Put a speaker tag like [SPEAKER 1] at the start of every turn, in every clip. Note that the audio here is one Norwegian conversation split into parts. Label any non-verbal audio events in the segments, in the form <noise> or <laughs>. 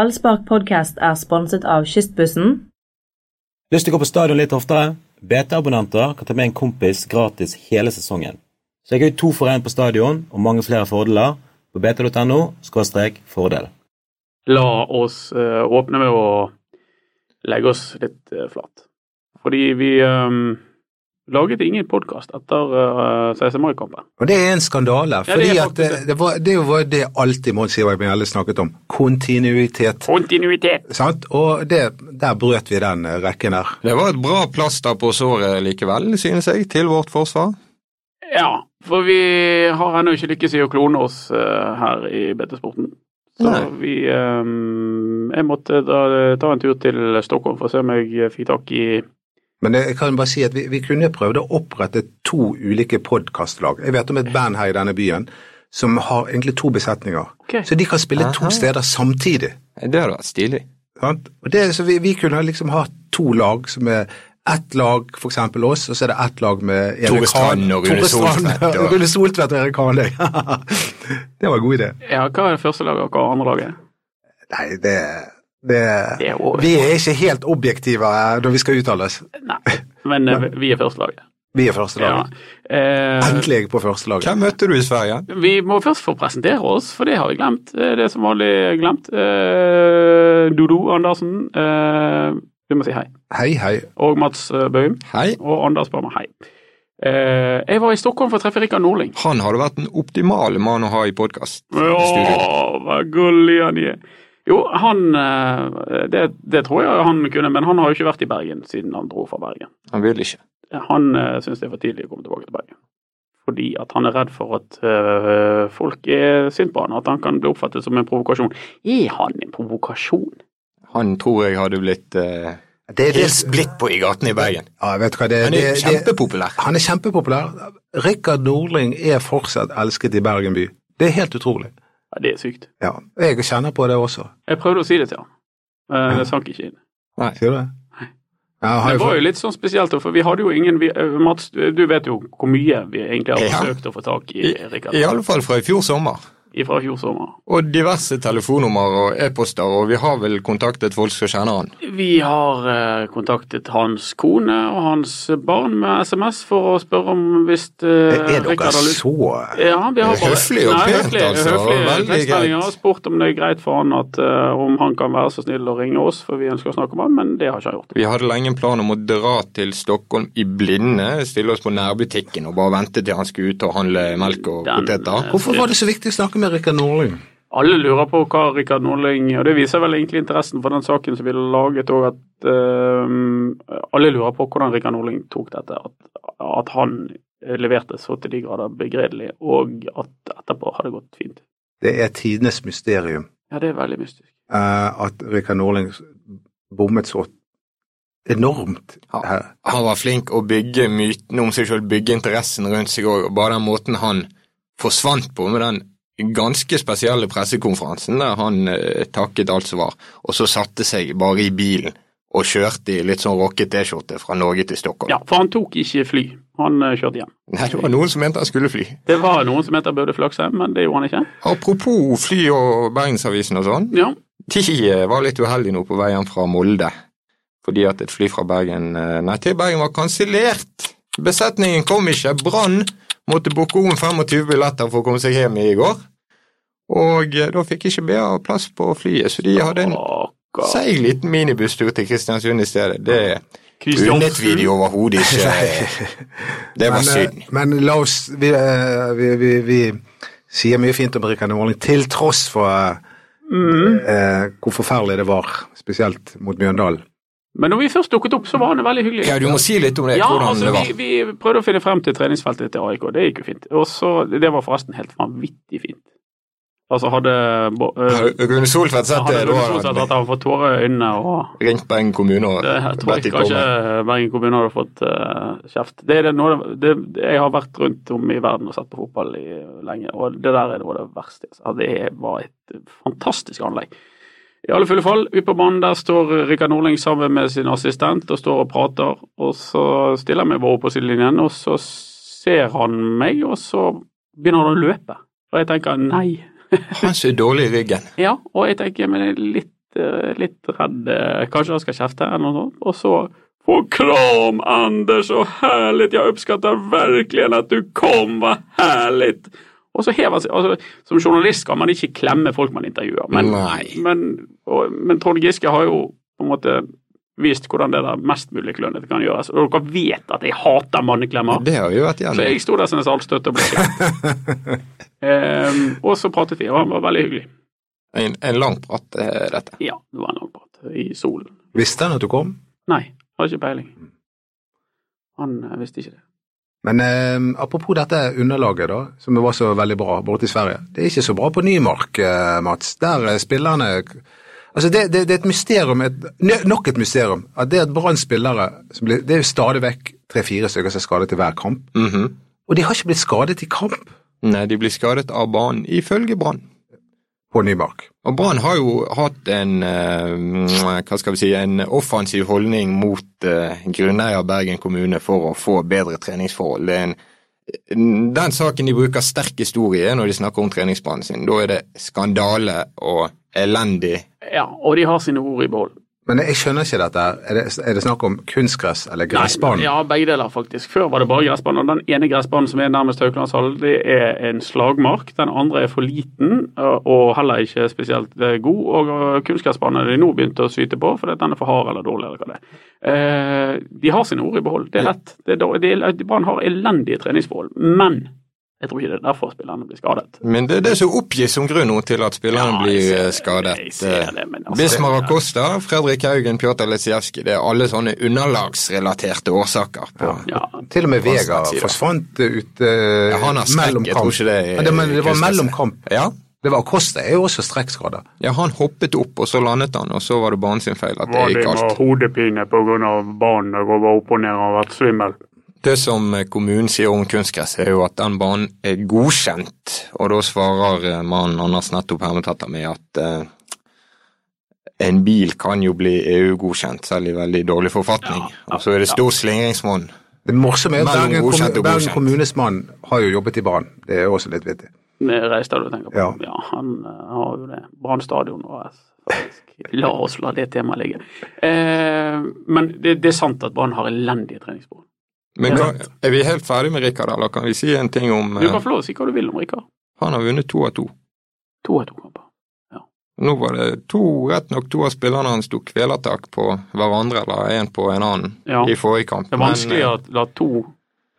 [SPEAKER 1] Ballspark podcast er sponset av Kystbussen,
[SPEAKER 2] Lyst til å gå på stadion litt oftere? BT-abonnenter kan ta med en kompis gratis hele sesongen. Så jeg har jo to for én på stadion, og mange flere fordeler på bt.no fordel.
[SPEAKER 3] La oss eh, åpne med å legge oss litt eh, flat. Fordi vi eh, laget ingen podkast etter eh, 16. mai-kampen.
[SPEAKER 4] Og det er en skandale,
[SPEAKER 3] det er
[SPEAKER 4] fordi at
[SPEAKER 3] faktisk det.
[SPEAKER 4] det, det, var, det var det alltid Mons Ivar Bjelle snakket om. Kontinuitet.
[SPEAKER 3] Kontinuitet!
[SPEAKER 4] Sant? Og det, der brøt vi den eh, rekken der.
[SPEAKER 5] Det var et bra plaster på såret likevel, synes jeg, til vårt forsvar.
[SPEAKER 3] Ja, for vi har ennå ikke lykkes i å klone oss eh, her i BT-sporten. Så
[SPEAKER 5] Nei.
[SPEAKER 3] vi eh, Jeg måtte da, ta en tur til Stockholm for å se om jeg eh, fikk tak i
[SPEAKER 4] Men det- jeg kan bare si at vi, vi kunne prøvd å opprette to ulike podkastlag. Jeg vet om et band her i denne byen som har egentlig to besetninger.
[SPEAKER 3] Ok.
[SPEAKER 4] Så de kan spille
[SPEAKER 5] Aha.
[SPEAKER 4] to steder samtidig.
[SPEAKER 5] Det hadde vært stilig.
[SPEAKER 4] Sant? Og det, så vi, vi kunne liksom ha to lag som er ett lag for eksempel oss, og så er det ett lag med Erik
[SPEAKER 5] Tore
[SPEAKER 4] Hahn.
[SPEAKER 5] Strand og Rune
[SPEAKER 4] Tore Strand
[SPEAKER 5] Soltvedt
[SPEAKER 4] og
[SPEAKER 5] og-
[SPEAKER 4] Rune Soltvedt og Erik Hahn. det. det var en god idé.
[SPEAKER 3] Ja, hva er det første laget, og hva er det andre laget?
[SPEAKER 4] Nei, det, det,
[SPEAKER 3] Det er over.
[SPEAKER 4] Vi er ikke helt objektive eh, når vi skal uttale oss.
[SPEAKER 3] Nei, men eh, vi er første laget.
[SPEAKER 4] Vi er første
[SPEAKER 3] Ja.
[SPEAKER 4] laget.
[SPEAKER 3] Eh,
[SPEAKER 4] Endelig er jeg på første laget.
[SPEAKER 5] Hvem møtte du i Sverige?
[SPEAKER 3] Vi må først få presentere oss, for det har vi glemt. Det er det som vanlig glemt. Eh, Dodo Andersen, eh, du må si hei.
[SPEAKER 4] Hei, hei.
[SPEAKER 3] Og Mats eh, Bøhm.
[SPEAKER 5] Hei.
[SPEAKER 3] Og Anders ba meg hei. Eh, jeg var i Stockholm for å treffe Rikard Nordling.
[SPEAKER 5] Han hadde vært den optimale mann å ha i podkast.
[SPEAKER 3] Ja, hva gullig han er. Jo, han eh, det, det tror jeg han kunne, men han har jo ikke vært i Bergen siden han dro fra Bergen.
[SPEAKER 5] Han vil ikke.
[SPEAKER 3] Han eh, syns det er for tidlig å komme tilbake til Bergen. Fordi at han er redd for at eh, folk er sint på han, at han kan bli oppfattet som en provokasjon. Er han en provokasjon?
[SPEAKER 5] Han tror jeg hadde blitt eh,
[SPEAKER 4] Det er det,
[SPEAKER 5] helt splitt på i gatene i Bergen.
[SPEAKER 4] ja, vet du hva, det,
[SPEAKER 5] Han
[SPEAKER 4] det,
[SPEAKER 5] er
[SPEAKER 4] det,
[SPEAKER 5] kjempepopulær.
[SPEAKER 4] han er kjempepopulær. Rikard Nordling er fortsatt elsket i Bergen by. Det er helt utrolig.
[SPEAKER 3] Ja, det er sykt.
[SPEAKER 4] Ja, Jeg kjenner på det også.
[SPEAKER 3] Jeg prøvde å si det til ham, men det sank ikke inn.
[SPEAKER 5] Nei.
[SPEAKER 4] Sier du det? Ja, han har
[SPEAKER 3] Det
[SPEAKER 4] jo
[SPEAKER 3] var
[SPEAKER 4] fått-
[SPEAKER 3] jo litt sånn spesielt, for vi hadde jo ingen vi, eh, Mats, du vet jo hvor mye vi egentlig har
[SPEAKER 5] Ja.
[SPEAKER 3] forsøkt å få tak i
[SPEAKER 5] I,
[SPEAKER 3] Rikard
[SPEAKER 5] I alle fall fra i fjor sommer.
[SPEAKER 3] fra fjor sommer.
[SPEAKER 5] Og diverse telefonnummer og e-poster, og vi har vel kontaktet folk som kjenner han.
[SPEAKER 3] Vi har eh, kontaktet hans kone og hans barn med SMS for å spørre om hvis eh,
[SPEAKER 4] Er dere
[SPEAKER 3] Rikard har lyst
[SPEAKER 4] så
[SPEAKER 3] Ja, vi har
[SPEAKER 5] Det er
[SPEAKER 3] bare
[SPEAKER 5] høflig og
[SPEAKER 3] Nei,
[SPEAKER 5] pent,
[SPEAKER 3] høflig,
[SPEAKER 5] altså.
[SPEAKER 3] Høflig,
[SPEAKER 5] Veldig
[SPEAKER 3] tekstmeldinger.
[SPEAKER 5] greit.
[SPEAKER 3] Jeg har spurt om det er greit for han at eh, om han kan være så snill å ringe oss, for vi ønsker å snakke om han, men det har ikke han gjort.
[SPEAKER 5] Vi hadde lenge en plan om å dra til Stockholm i blinde, stille oss på nærbutikken og bare vente til han skulle ut og handle melk og
[SPEAKER 3] Den,
[SPEAKER 5] poteter.
[SPEAKER 4] Hvorfor var det så viktig å snakke med Rikard Nordling?
[SPEAKER 3] Alle lurer på hva Rikard Norling Og det viser vel egentlig interessen for den saken som vi laget òg, at eh, alle lurer på hvordan Rikard Norling tok dette. At, at han leverte så til de grader begredelig, og at etterpå har det gått fint.
[SPEAKER 4] Det er tidenes mysterium
[SPEAKER 3] Ja, det er veldig mystisk.
[SPEAKER 4] eh, at Rikard Nordling bommet så enormt
[SPEAKER 5] Ja.
[SPEAKER 4] her.
[SPEAKER 5] Han var flink å bygge myten om seg selv, bygge interessen rundt seg òg, og bare den måten han forsvant på med den ganske spesielle pressekonferansen der han eh, takket alt som var, og så satte seg bare i bilen og kjørte i litt sånn rocket T-skjorte fra Norge til Stockholm.
[SPEAKER 3] Ja, for han tok ikke fly. Han eh, kjørte hjem.
[SPEAKER 5] Nei, det var noen som mente han skulle fly.
[SPEAKER 3] Det var noen som heter Bøde Flaksheim, men det gjorde han ikke.
[SPEAKER 5] Apropos fly og Bergensavisen og sånn,
[SPEAKER 3] Ja,
[SPEAKER 5] <laughs> De eh, var litt uheldige nå på veien fra Molde, fordi at et fly fra Bergen eh, Nei, til Bergen var kansellert! Besetningen kom ikke. Brann måtte booke om 25 billetter for å komme seg hjem i går. Og eh, da fikk ikke BA plass på flyet, så de hadde en
[SPEAKER 3] Stakkar.
[SPEAKER 5] seig liten minibusstur til Kristiansund i stedet. Det unnet vi de
[SPEAKER 3] Kristiansund. <laughs>
[SPEAKER 5] overhodet ikke. Det var
[SPEAKER 4] Men,
[SPEAKER 5] synd.
[SPEAKER 4] eh, men la oss vi, eh, vi, vi, vi sier mye fint om Rikard Nordling, til tross for eh,
[SPEAKER 3] Mm.
[SPEAKER 4] eh, hvor forferdelig det var, spesielt mot Mjøndalen.
[SPEAKER 3] Men når vi først dukket opp, så var han veldig hyggelig.
[SPEAKER 5] Ja, du må si litt om det,
[SPEAKER 3] eh, Ja,
[SPEAKER 5] hvordan
[SPEAKER 3] altså,
[SPEAKER 5] det var.
[SPEAKER 3] vi, vi prøvde å finne frem til treningsfeltet til AIK, det gikk jo fint. Og så, Det var forresten helt vanvittig fint. Altså, hadde Bo- øh,
[SPEAKER 5] Rune Soltvedt sett
[SPEAKER 3] Hadde
[SPEAKER 5] det?
[SPEAKER 3] Rune Solseth
[SPEAKER 5] Da
[SPEAKER 3] hatt han fått tårer i øynene og
[SPEAKER 5] ringt Bergen kommune og
[SPEAKER 3] det, Jeg tror
[SPEAKER 5] bedt de
[SPEAKER 3] ikke kanskje
[SPEAKER 5] komme.
[SPEAKER 3] Bergen kommune hadde fått eh, kjeft. Det er det, noe, av det, det- jeg har vært rundt om i verden og sett på fotball i, lenge, og det der er noe av det verste. Altså, det var et fantastisk anlegg. I alle fulle fall, ute på banen der står Rikard Norling sammen med sin assistent og står og prater. Og så stiller jeg meg bare opp på sidelinjen, og så ser han meg, og så begynner han å løpe. Og jeg tenker nei.
[SPEAKER 5] Han som er dårlig i ryggen.
[SPEAKER 3] Ja, og jeg tenker men det er litt eh, litt redd eh, Kanskje han skal kjefte eller noe sånt. Og så Få kram, Anders, så herlig! Jeg oppskatter virkelig at du kom, hva herlig! Og så hever han seg, altså, Som journalist skal man ikke klemme folk man intervjuer, men,
[SPEAKER 5] Nei.
[SPEAKER 3] men, og, men Trond Giske har jo på en måte vist hvordan det der mest mulig klønete kan gjøres. Og dere vet at jeg hater manneklemmer.
[SPEAKER 5] Det har jo vært
[SPEAKER 3] Så
[SPEAKER 5] gjennom.
[SPEAKER 3] jeg sto der som en saltstøtte og ble klemt.
[SPEAKER 5] <laughs>
[SPEAKER 3] Ehm, og så pratet vi, og han var veldig hyggelig.
[SPEAKER 5] En, en lang prat, eh, dette.
[SPEAKER 3] Ja, det var en lang prat. I solen.
[SPEAKER 4] Visste han at du kom?
[SPEAKER 3] Nei, har ikke peiling. Han eh, visste ikke det.
[SPEAKER 4] Men eh, apropos dette underlaget, da, som var så veldig bra borte i Sverige. Det er ikke så bra på Nymark, eh, Mats. Der eh, spillerne Altså, det, det, det er et mysterium, et, nø- nok et mysterium, at det at Brann spillere som blir- Det er jo stadig vekk tre-fire stykker som er skadet i hver kamp.
[SPEAKER 5] Mhm.
[SPEAKER 4] Og de har ikke blitt skadet i kamp
[SPEAKER 5] Nei, de blir skadet av banen, ifølge Brann.
[SPEAKER 4] på Nymark.
[SPEAKER 5] Og Brann har jo hatt en eh, hva skal vi si, en offensiv holdning mot eh, grunneier Bergen kommune for å få bedre treningsforhold. Det er en, den saken de bruker sterk historie når de snakker om treningsplanen sin. Da er det skandale og elendig.
[SPEAKER 3] Ja, og de har sine ord i behold.
[SPEAKER 4] Men jeg skjønner ikke dette. her. Er det, er det snakk om kunstgress eller gressbanen?
[SPEAKER 3] Ja, begge deler, faktisk. Før var det bare gressbanen. Og den ene gressbanen som er nærmest Haukelandshallen, det er en slagmark. Den andre er for liten eh, og heller ikke spesielt eh, god. Og eh, kunstgressbanen har de nå begynt å syte på fordi at den er for hard eller dårlig eller hva det er. Eh, De har sine ord i behold, det er lett. Det er dårlig- det er- Brann har elendige treningsforhold. Men jeg tror ikke det er derfor spillerne blir skadet.
[SPEAKER 5] Men det er det som oppgis som grunn nå til at spillerne
[SPEAKER 3] Ja, jeg
[SPEAKER 5] blir
[SPEAKER 3] ser
[SPEAKER 5] eh,
[SPEAKER 3] det,
[SPEAKER 5] skadet.
[SPEAKER 3] jeg ser det, men altså-
[SPEAKER 5] Bismar Acosta, Fredrik Haugen, Pjotr Lesijevskij. Det er alle sånne underlagsrelaterte årsaker. på
[SPEAKER 3] Ja,
[SPEAKER 4] Til og med
[SPEAKER 5] Fast
[SPEAKER 4] Vega
[SPEAKER 5] side.
[SPEAKER 4] forsvant eh, ut eh,
[SPEAKER 5] Ja, han har strekk,
[SPEAKER 4] mellom
[SPEAKER 5] jeg
[SPEAKER 4] kamp.
[SPEAKER 5] tror ikke det er-
[SPEAKER 4] ja, det, men det var
[SPEAKER 5] kunstgress.
[SPEAKER 4] mellom kamp.
[SPEAKER 5] Ja,
[SPEAKER 4] Det var Acosta er jo også strekkskader.
[SPEAKER 5] Ja, han hoppet opp, og så landet han, og så var det banen sin feil at det
[SPEAKER 6] Var det
[SPEAKER 5] gikk
[SPEAKER 6] med
[SPEAKER 5] galt.
[SPEAKER 6] hodepine pga. banen og gå opp og ned og har vært svimmel?
[SPEAKER 5] Det som eh, kommunen sier om kunstgress, er jo at den banen er godkjent, og da svarer eh, mannen Anders nettopp Hermetatter med at eh, en bil kan jo bli EU-godkjent, selv i veldig dårlig forfatning. Og så er det stor slingringsmonn.
[SPEAKER 4] Det morsomme er at
[SPEAKER 5] Mellom
[SPEAKER 4] Bergen,
[SPEAKER 5] godkjent
[SPEAKER 4] kommu-
[SPEAKER 5] og
[SPEAKER 4] Bergen
[SPEAKER 5] godkjent.
[SPEAKER 4] kommunes mann har jo jobbet i banen. Det er jo også litt vittig.
[SPEAKER 3] Med Reistad du tenker på?
[SPEAKER 4] Ja.
[SPEAKER 3] Ja, han eh, har jo det. Brann stadion og AS, faktisk. La oss la det temaet ligge. Eh, men det, det er sant at Brann har elendige treningsspor.
[SPEAKER 5] Men
[SPEAKER 3] Ja.
[SPEAKER 5] kan, er vi helt ferdig med Rikard, eller kan vi si en ting om
[SPEAKER 3] Du
[SPEAKER 5] eh,
[SPEAKER 3] kan få lov å si hva du vil om Rikard.
[SPEAKER 5] Han har vunnet to av to.
[SPEAKER 3] To av to kamper.
[SPEAKER 5] Nå var det to, rett nok to av spillerne hans tok kvelertak på hverandre, eller én på en annen,
[SPEAKER 3] Ja.
[SPEAKER 5] i forrige kamp.
[SPEAKER 3] Det er
[SPEAKER 5] Men,
[SPEAKER 3] vanskelig
[SPEAKER 5] eh,
[SPEAKER 3] å la to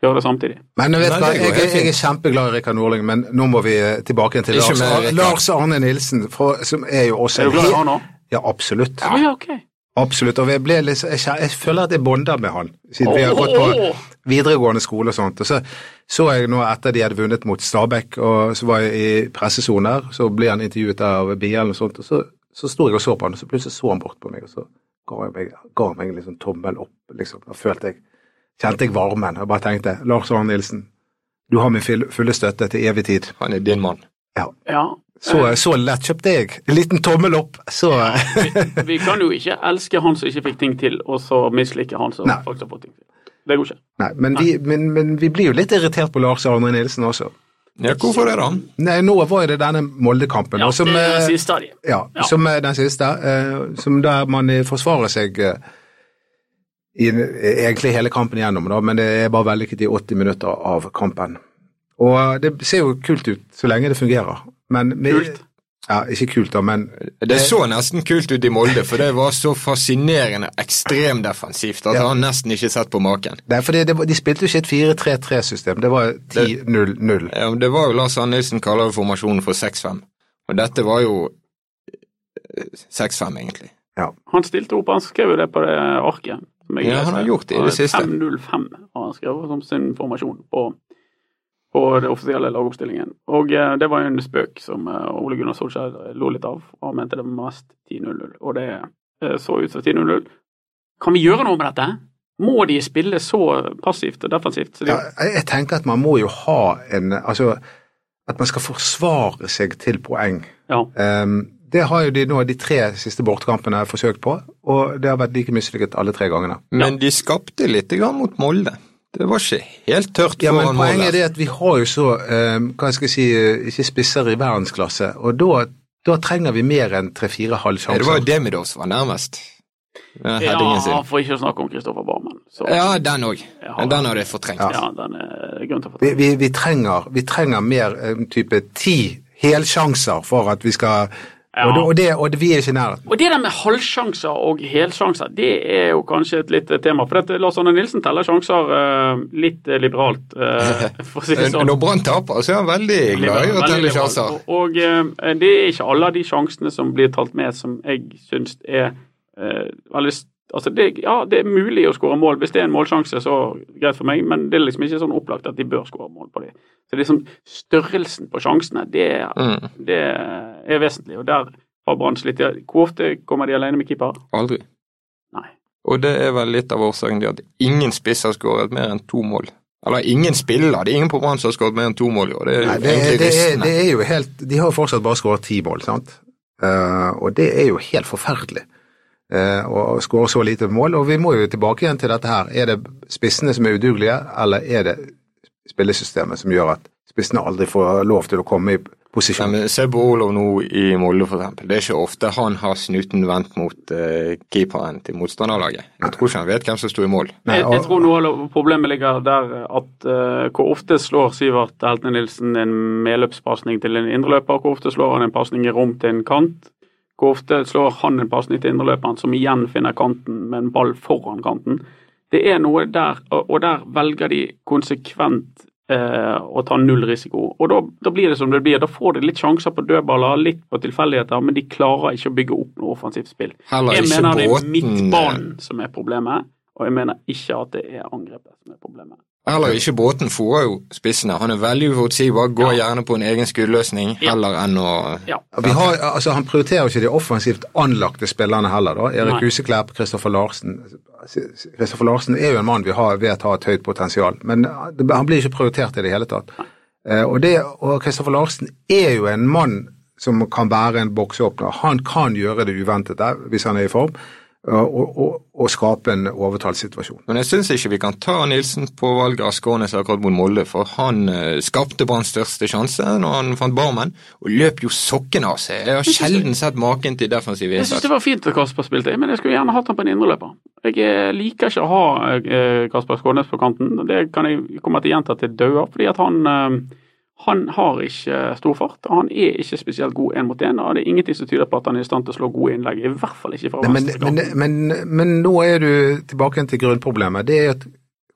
[SPEAKER 3] gjøre det samtidig.
[SPEAKER 4] Men vet
[SPEAKER 5] Nei,
[SPEAKER 4] du hva,
[SPEAKER 5] det går
[SPEAKER 4] jeg,
[SPEAKER 5] helt
[SPEAKER 4] jeg, er kjempeglad i Rikard Nordling, men nå må vi eh, tilbake igjen til
[SPEAKER 5] Ikke
[SPEAKER 4] Lars,
[SPEAKER 5] mer Rikard.
[SPEAKER 4] Lars Arne Nilsen, for, som er jo også
[SPEAKER 3] Er du glad i han òg?
[SPEAKER 4] Ja, absolutt.
[SPEAKER 3] Å ja, ok.
[SPEAKER 4] Absolutt. Og jeg, ble litt, så- jeg, kjen- jeg føler at jeg bonder med han, siden vi har gått på
[SPEAKER 3] Åh!
[SPEAKER 4] videregående skole og sånt. Og så så jeg nå etter de hadde vunnet mot Stabæk, og så var jeg i pressesonen her, så ble han intervjuet av Bielen og sånt, og så, så sto jeg og så på han, og så plutselig så han bort på meg, og så ga han meg, ga han meg en liksom tommel opp, liksom. Da følte jeg, kjente jeg varmen, og bare tenkte, Lars Arne Nilsen, du har min full- fulle støtte til evig tid.
[SPEAKER 5] eh, Han er din mann.
[SPEAKER 3] Ja.
[SPEAKER 4] Så, så lett kjøpte jeg. En liten tommel opp, så <laughs>
[SPEAKER 3] Vi kan jo ikke elske han som ikke fikk ting til, og så mislike han som
[SPEAKER 4] Nei.
[SPEAKER 3] faktisk har fått ting til. Det går ikke.
[SPEAKER 4] Nei, men vi, men, men vi blir jo litt irritert på Lars Arne Nilsen også.
[SPEAKER 5] Ja, hvorfor det, da?
[SPEAKER 4] Nei, nå var jo det denne Molde-kampen,
[SPEAKER 3] Ja,
[SPEAKER 4] og som,
[SPEAKER 3] det er
[SPEAKER 4] eh,
[SPEAKER 3] siste av de.
[SPEAKER 4] ja,
[SPEAKER 3] Ja.
[SPEAKER 4] som er den siste, eh, som der man eh, forsvarer seg eh, i, en- egentlig hele kampen igjennom, da, men det er bare vellykket i 80 minutter av kampen. Og eh, det ser jo kult ut så lenge det fungerer. Men, med-
[SPEAKER 3] Kult?
[SPEAKER 4] Ja, ikke kult da, men
[SPEAKER 5] Det så nesten kult ut i Molde, for det var så fascinerende ekstremdefensivt at
[SPEAKER 4] Ja.
[SPEAKER 5] han nesten ikke sett på maken.
[SPEAKER 4] Nei, for det, det, var- de spilte jo ikke et 4-3-3-system, det var 10-0-0.
[SPEAKER 5] Ja, men Det var jo Lars Arne Nilsen kaller jo formasjonen for 6-5, og dette var jo eh, 6-5, egentlig.
[SPEAKER 3] Han stilte opp, han skrev jo det på det arket. som jeg
[SPEAKER 5] Ja, han har
[SPEAKER 3] leste.
[SPEAKER 5] gjort det i det siste.
[SPEAKER 3] 505 har han skrevet som sin formasjon på, på den offisielle lagoppstillingen. Og eh, det var jo en spøk som eh, Ole Gunnar Solskjær lo litt av. og Han mente det var mest 10-0-0, og det eh, så ut som 10-0-0. Kan vi gjøre noe med dette? Må de spille så passivt og defensivt? Så de,
[SPEAKER 4] Ja, jeg jeg tenker at man må jo ha en Altså, at man skal forsvare seg til poeng.
[SPEAKER 3] ja.
[SPEAKER 4] Ehm, det har jo de nå de tre siste bortekampene forsøkt på, og det har vært like mislykket alle tre gangene.
[SPEAKER 5] Men de skapte litt grann mot Molde. Det var ikke helt tørt
[SPEAKER 4] Ja, men
[SPEAKER 5] foran
[SPEAKER 4] Poenget er
[SPEAKER 5] Molde.
[SPEAKER 4] det at vi har jo så ehm, hva skal jeg si, eh, ikke spisser i verdensklasse, og da Da trenger vi mer enn tre-fire
[SPEAKER 5] Nei, Det var jo
[SPEAKER 4] halvsjanser.
[SPEAKER 5] Demidov som var nærmest. Den headingen
[SPEAKER 3] Ja,
[SPEAKER 5] sin.
[SPEAKER 3] for ikke å snakke om Kristoffer Barmen. Så,
[SPEAKER 5] Ja, den òg.
[SPEAKER 3] Ja.
[SPEAKER 5] Men den hadde jeg fortrengt.
[SPEAKER 3] ja, den er grunn til å
[SPEAKER 4] Vi,
[SPEAKER 3] fortelle.
[SPEAKER 4] vi, vi, trenger, vi trenger mer en type ti helsjanser for at vi skal
[SPEAKER 3] Ja.
[SPEAKER 4] og, det, og, det, og det, vi er ikke i nærheten.
[SPEAKER 3] Og det der med halvsjanser og helsjanser, det er jo kanskje et lite tema. For dette, Lars Arne Nilsen teller sjanser eh, litt eh, liberalt, eh, for å si det
[SPEAKER 5] Men
[SPEAKER 3] sånn.
[SPEAKER 5] Når Brann taper, så er han veldig glad i å
[SPEAKER 3] Veldig
[SPEAKER 5] telle
[SPEAKER 3] liberal.
[SPEAKER 5] sjanser.
[SPEAKER 3] Og, og eh, det er ikke alle av de sjansene som blir talt med som jeg syns er eh, veldig s- Altså det, ja, det er mulig å skåre mål. Hvis det er en målsjanse, så greit for meg, men det er liksom ikke sånn opplagt at de bør skåre mål på det. Så det er liksom størrelsen på sjansene, det,
[SPEAKER 5] Mm,
[SPEAKER 3] det er vesentlig. Og der har Brann slitt. Ja, Hvor ofte kommer de alene med keeper?
[SPEAKER 5] aldri.
[SPEAKER 3] Nei.
[SPEAKER 5] Og det er vel litt av årsaken til at ingen spiss har skåret mer enn to mål. Eller ingen spiller, det er ingen på Brann som har skåret mer enn to mål i år. Det er
[SPEAKER 4] Nei,
[SPEAKER 5] jo
[SPEAKER 4] det, er-
[SPEAKER 5] egentlig
[SPEAKER 4] det, er,
[SPEAKER 5] rystende.
[SPEAKER 4] det er jo helt De har jo fortsatt bare skåret ti mål, sant. Eh, og det er jo helt forferdelig eh, å å skåre så lite mål. Og vi må jo tilbake igjen til dette her. Er det spissene som er udugelige, eller er det spillesystemet som gjør at spissene aldri får lov til å komme i
[SPEAKER 5] Nei,
[SPEAKER 4] posisjon?
[SPEAKER 5] men Se på Olav nå i Molde, for eksempel. Det er ikke ofte han har snuten vendt mot eh, keeperen til motstanderlaget. Jeg tror ikke han vet hvem som sto i mål.
[SPEAKER 4] Nei,
[SPEAKER 3] jeg, jeg tror noe av problemet ligger der at eh, hvor ofte slår Sivert Heltne Nilsen en medløpspasning til en indreløper, hvor ofte slår han en pasning i rom til en kant, hvor ofte slår han en pasning til indreløperen som igjen finner kanten med en ball foran kanten. Det er noe der, og og der velger de konsekvent eh, å ta null risiko. Og da, da blir det som det blir. Da får de litt sjanser på dødballer, litt på tilfeldigheter, men de klarer ikke å bygge opp noe offensivt spill.
[SPEAKER 5] Heller
[SPEAKER 3] Jeg
[SPEAKER 5] ikke
[SPEAKER 3] mener det er
[SPEAKER 5] Bråten eh,
[SPEAKER 3] midtbanen som er problemet, og jeg mener ikke at det er angrepet som er problemet.
[SPEAKER 5] Heller ikke Bråten fôrer jo spissene. Han er veldig uforutsigbar, går gjerne på en egen skuddløsning
[SPEAKER 3] Ja.
[SPEAKER 5] heller enn å
[SPEAKER 3] Ja.
[SPEAKER 4] Vi har, altså, han prioriterer jo ikke de offensivt anlagte spillerne heller. da. Erik
[SPEAKER 3] Nei.
[SPEAKER 4] Huseklepp, Kristoffer Larsen. Kristoffer Larsen er jo en mann vi har, vet har et høyt potensial, men eh, det- han blir ikke prioritert i det hele tatt. Eh, og, det, og Kristoffer Larsen er jo en mann som kan være en bokseåpner. Han kan gjøre det uventede hvis han er i form, eh, og, og, og skape en overtallssituasjon.
[SPEAKER 5] Men jeg syns ikke vi kan ta Nilsen på valget av Skånes akkurat mot Molde, for han eh, skapte Branns største sjanse når han fant barmen, og løp jo sokken av seg. Jeg har sjelden sett maken til defensiv
[SPEAKER 3] Jeg syns
[SPEAKER 5] innsats.
[SPEAKER 3] det var fint at Kasper spilte, men jeg skulle gjerne hatt han på en indreløper. Jeg eh, liker ikke å ha eh, Kasper Skånes på kanten, og det kan jeg komme til å gjenta til daua, fordi at han eh, han har ikke eh, stor fart, og han er ikke spesielt god én mot én. Og det er ingenting som tyder på at han er i stand til å slå gode innlegg, i hvert fall ikke fra
[SPEAKER 4] Nei, men, men,
[SPEAKER 3] venstrekanten.
[SPEAKER 4] men, men nå er du tilbake igjen til grunnproblemet. Det er at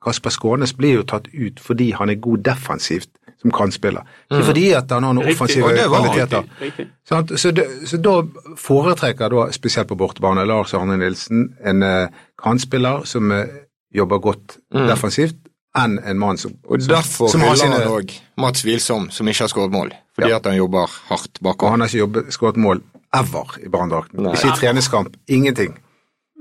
[SPEAKER 4] Kasper Skånes blir jo tatt ut fordi han er god defensivt som kantspiller. Ikke fordi at han har noen
[SPEAKER 3] Riktig.
[SPEAKER 4] offensive
[SPEAKER 5] Og Mm. det var han.
[SPEAKER 4] kvaliteter.
[SPEAKER 3] Riktig, riktig.
[SPEAKER 4] Sant? Så, det, så da foretrekker da, spesielt på bortebane, Lars Arne Nilsen en eh, kantspiller som eh, jobber godt defensivt, enn en mann som
[SPEAKER 5] Mm. Og
[SPEAKER 4] som-
[SPEAKER 5] derfor
[SPEAKER 4] som har
[SPEAKER 5] hyller
[SPEAKER 4] sine-
[SPEAKER 5] han òg Mats Wilsom, som ikke har skåret mål, fordi at han jobber hardt
[SPEAKER 4] Og
[SPEAKER 5] bakover.
[SPEAKER 4] han har ikke jobbet, skåret mål ever i Branndrakten.
[SPEAKER 5] Nei.
[SPEAKER 4] Ikke i treningskamp. Ingenting.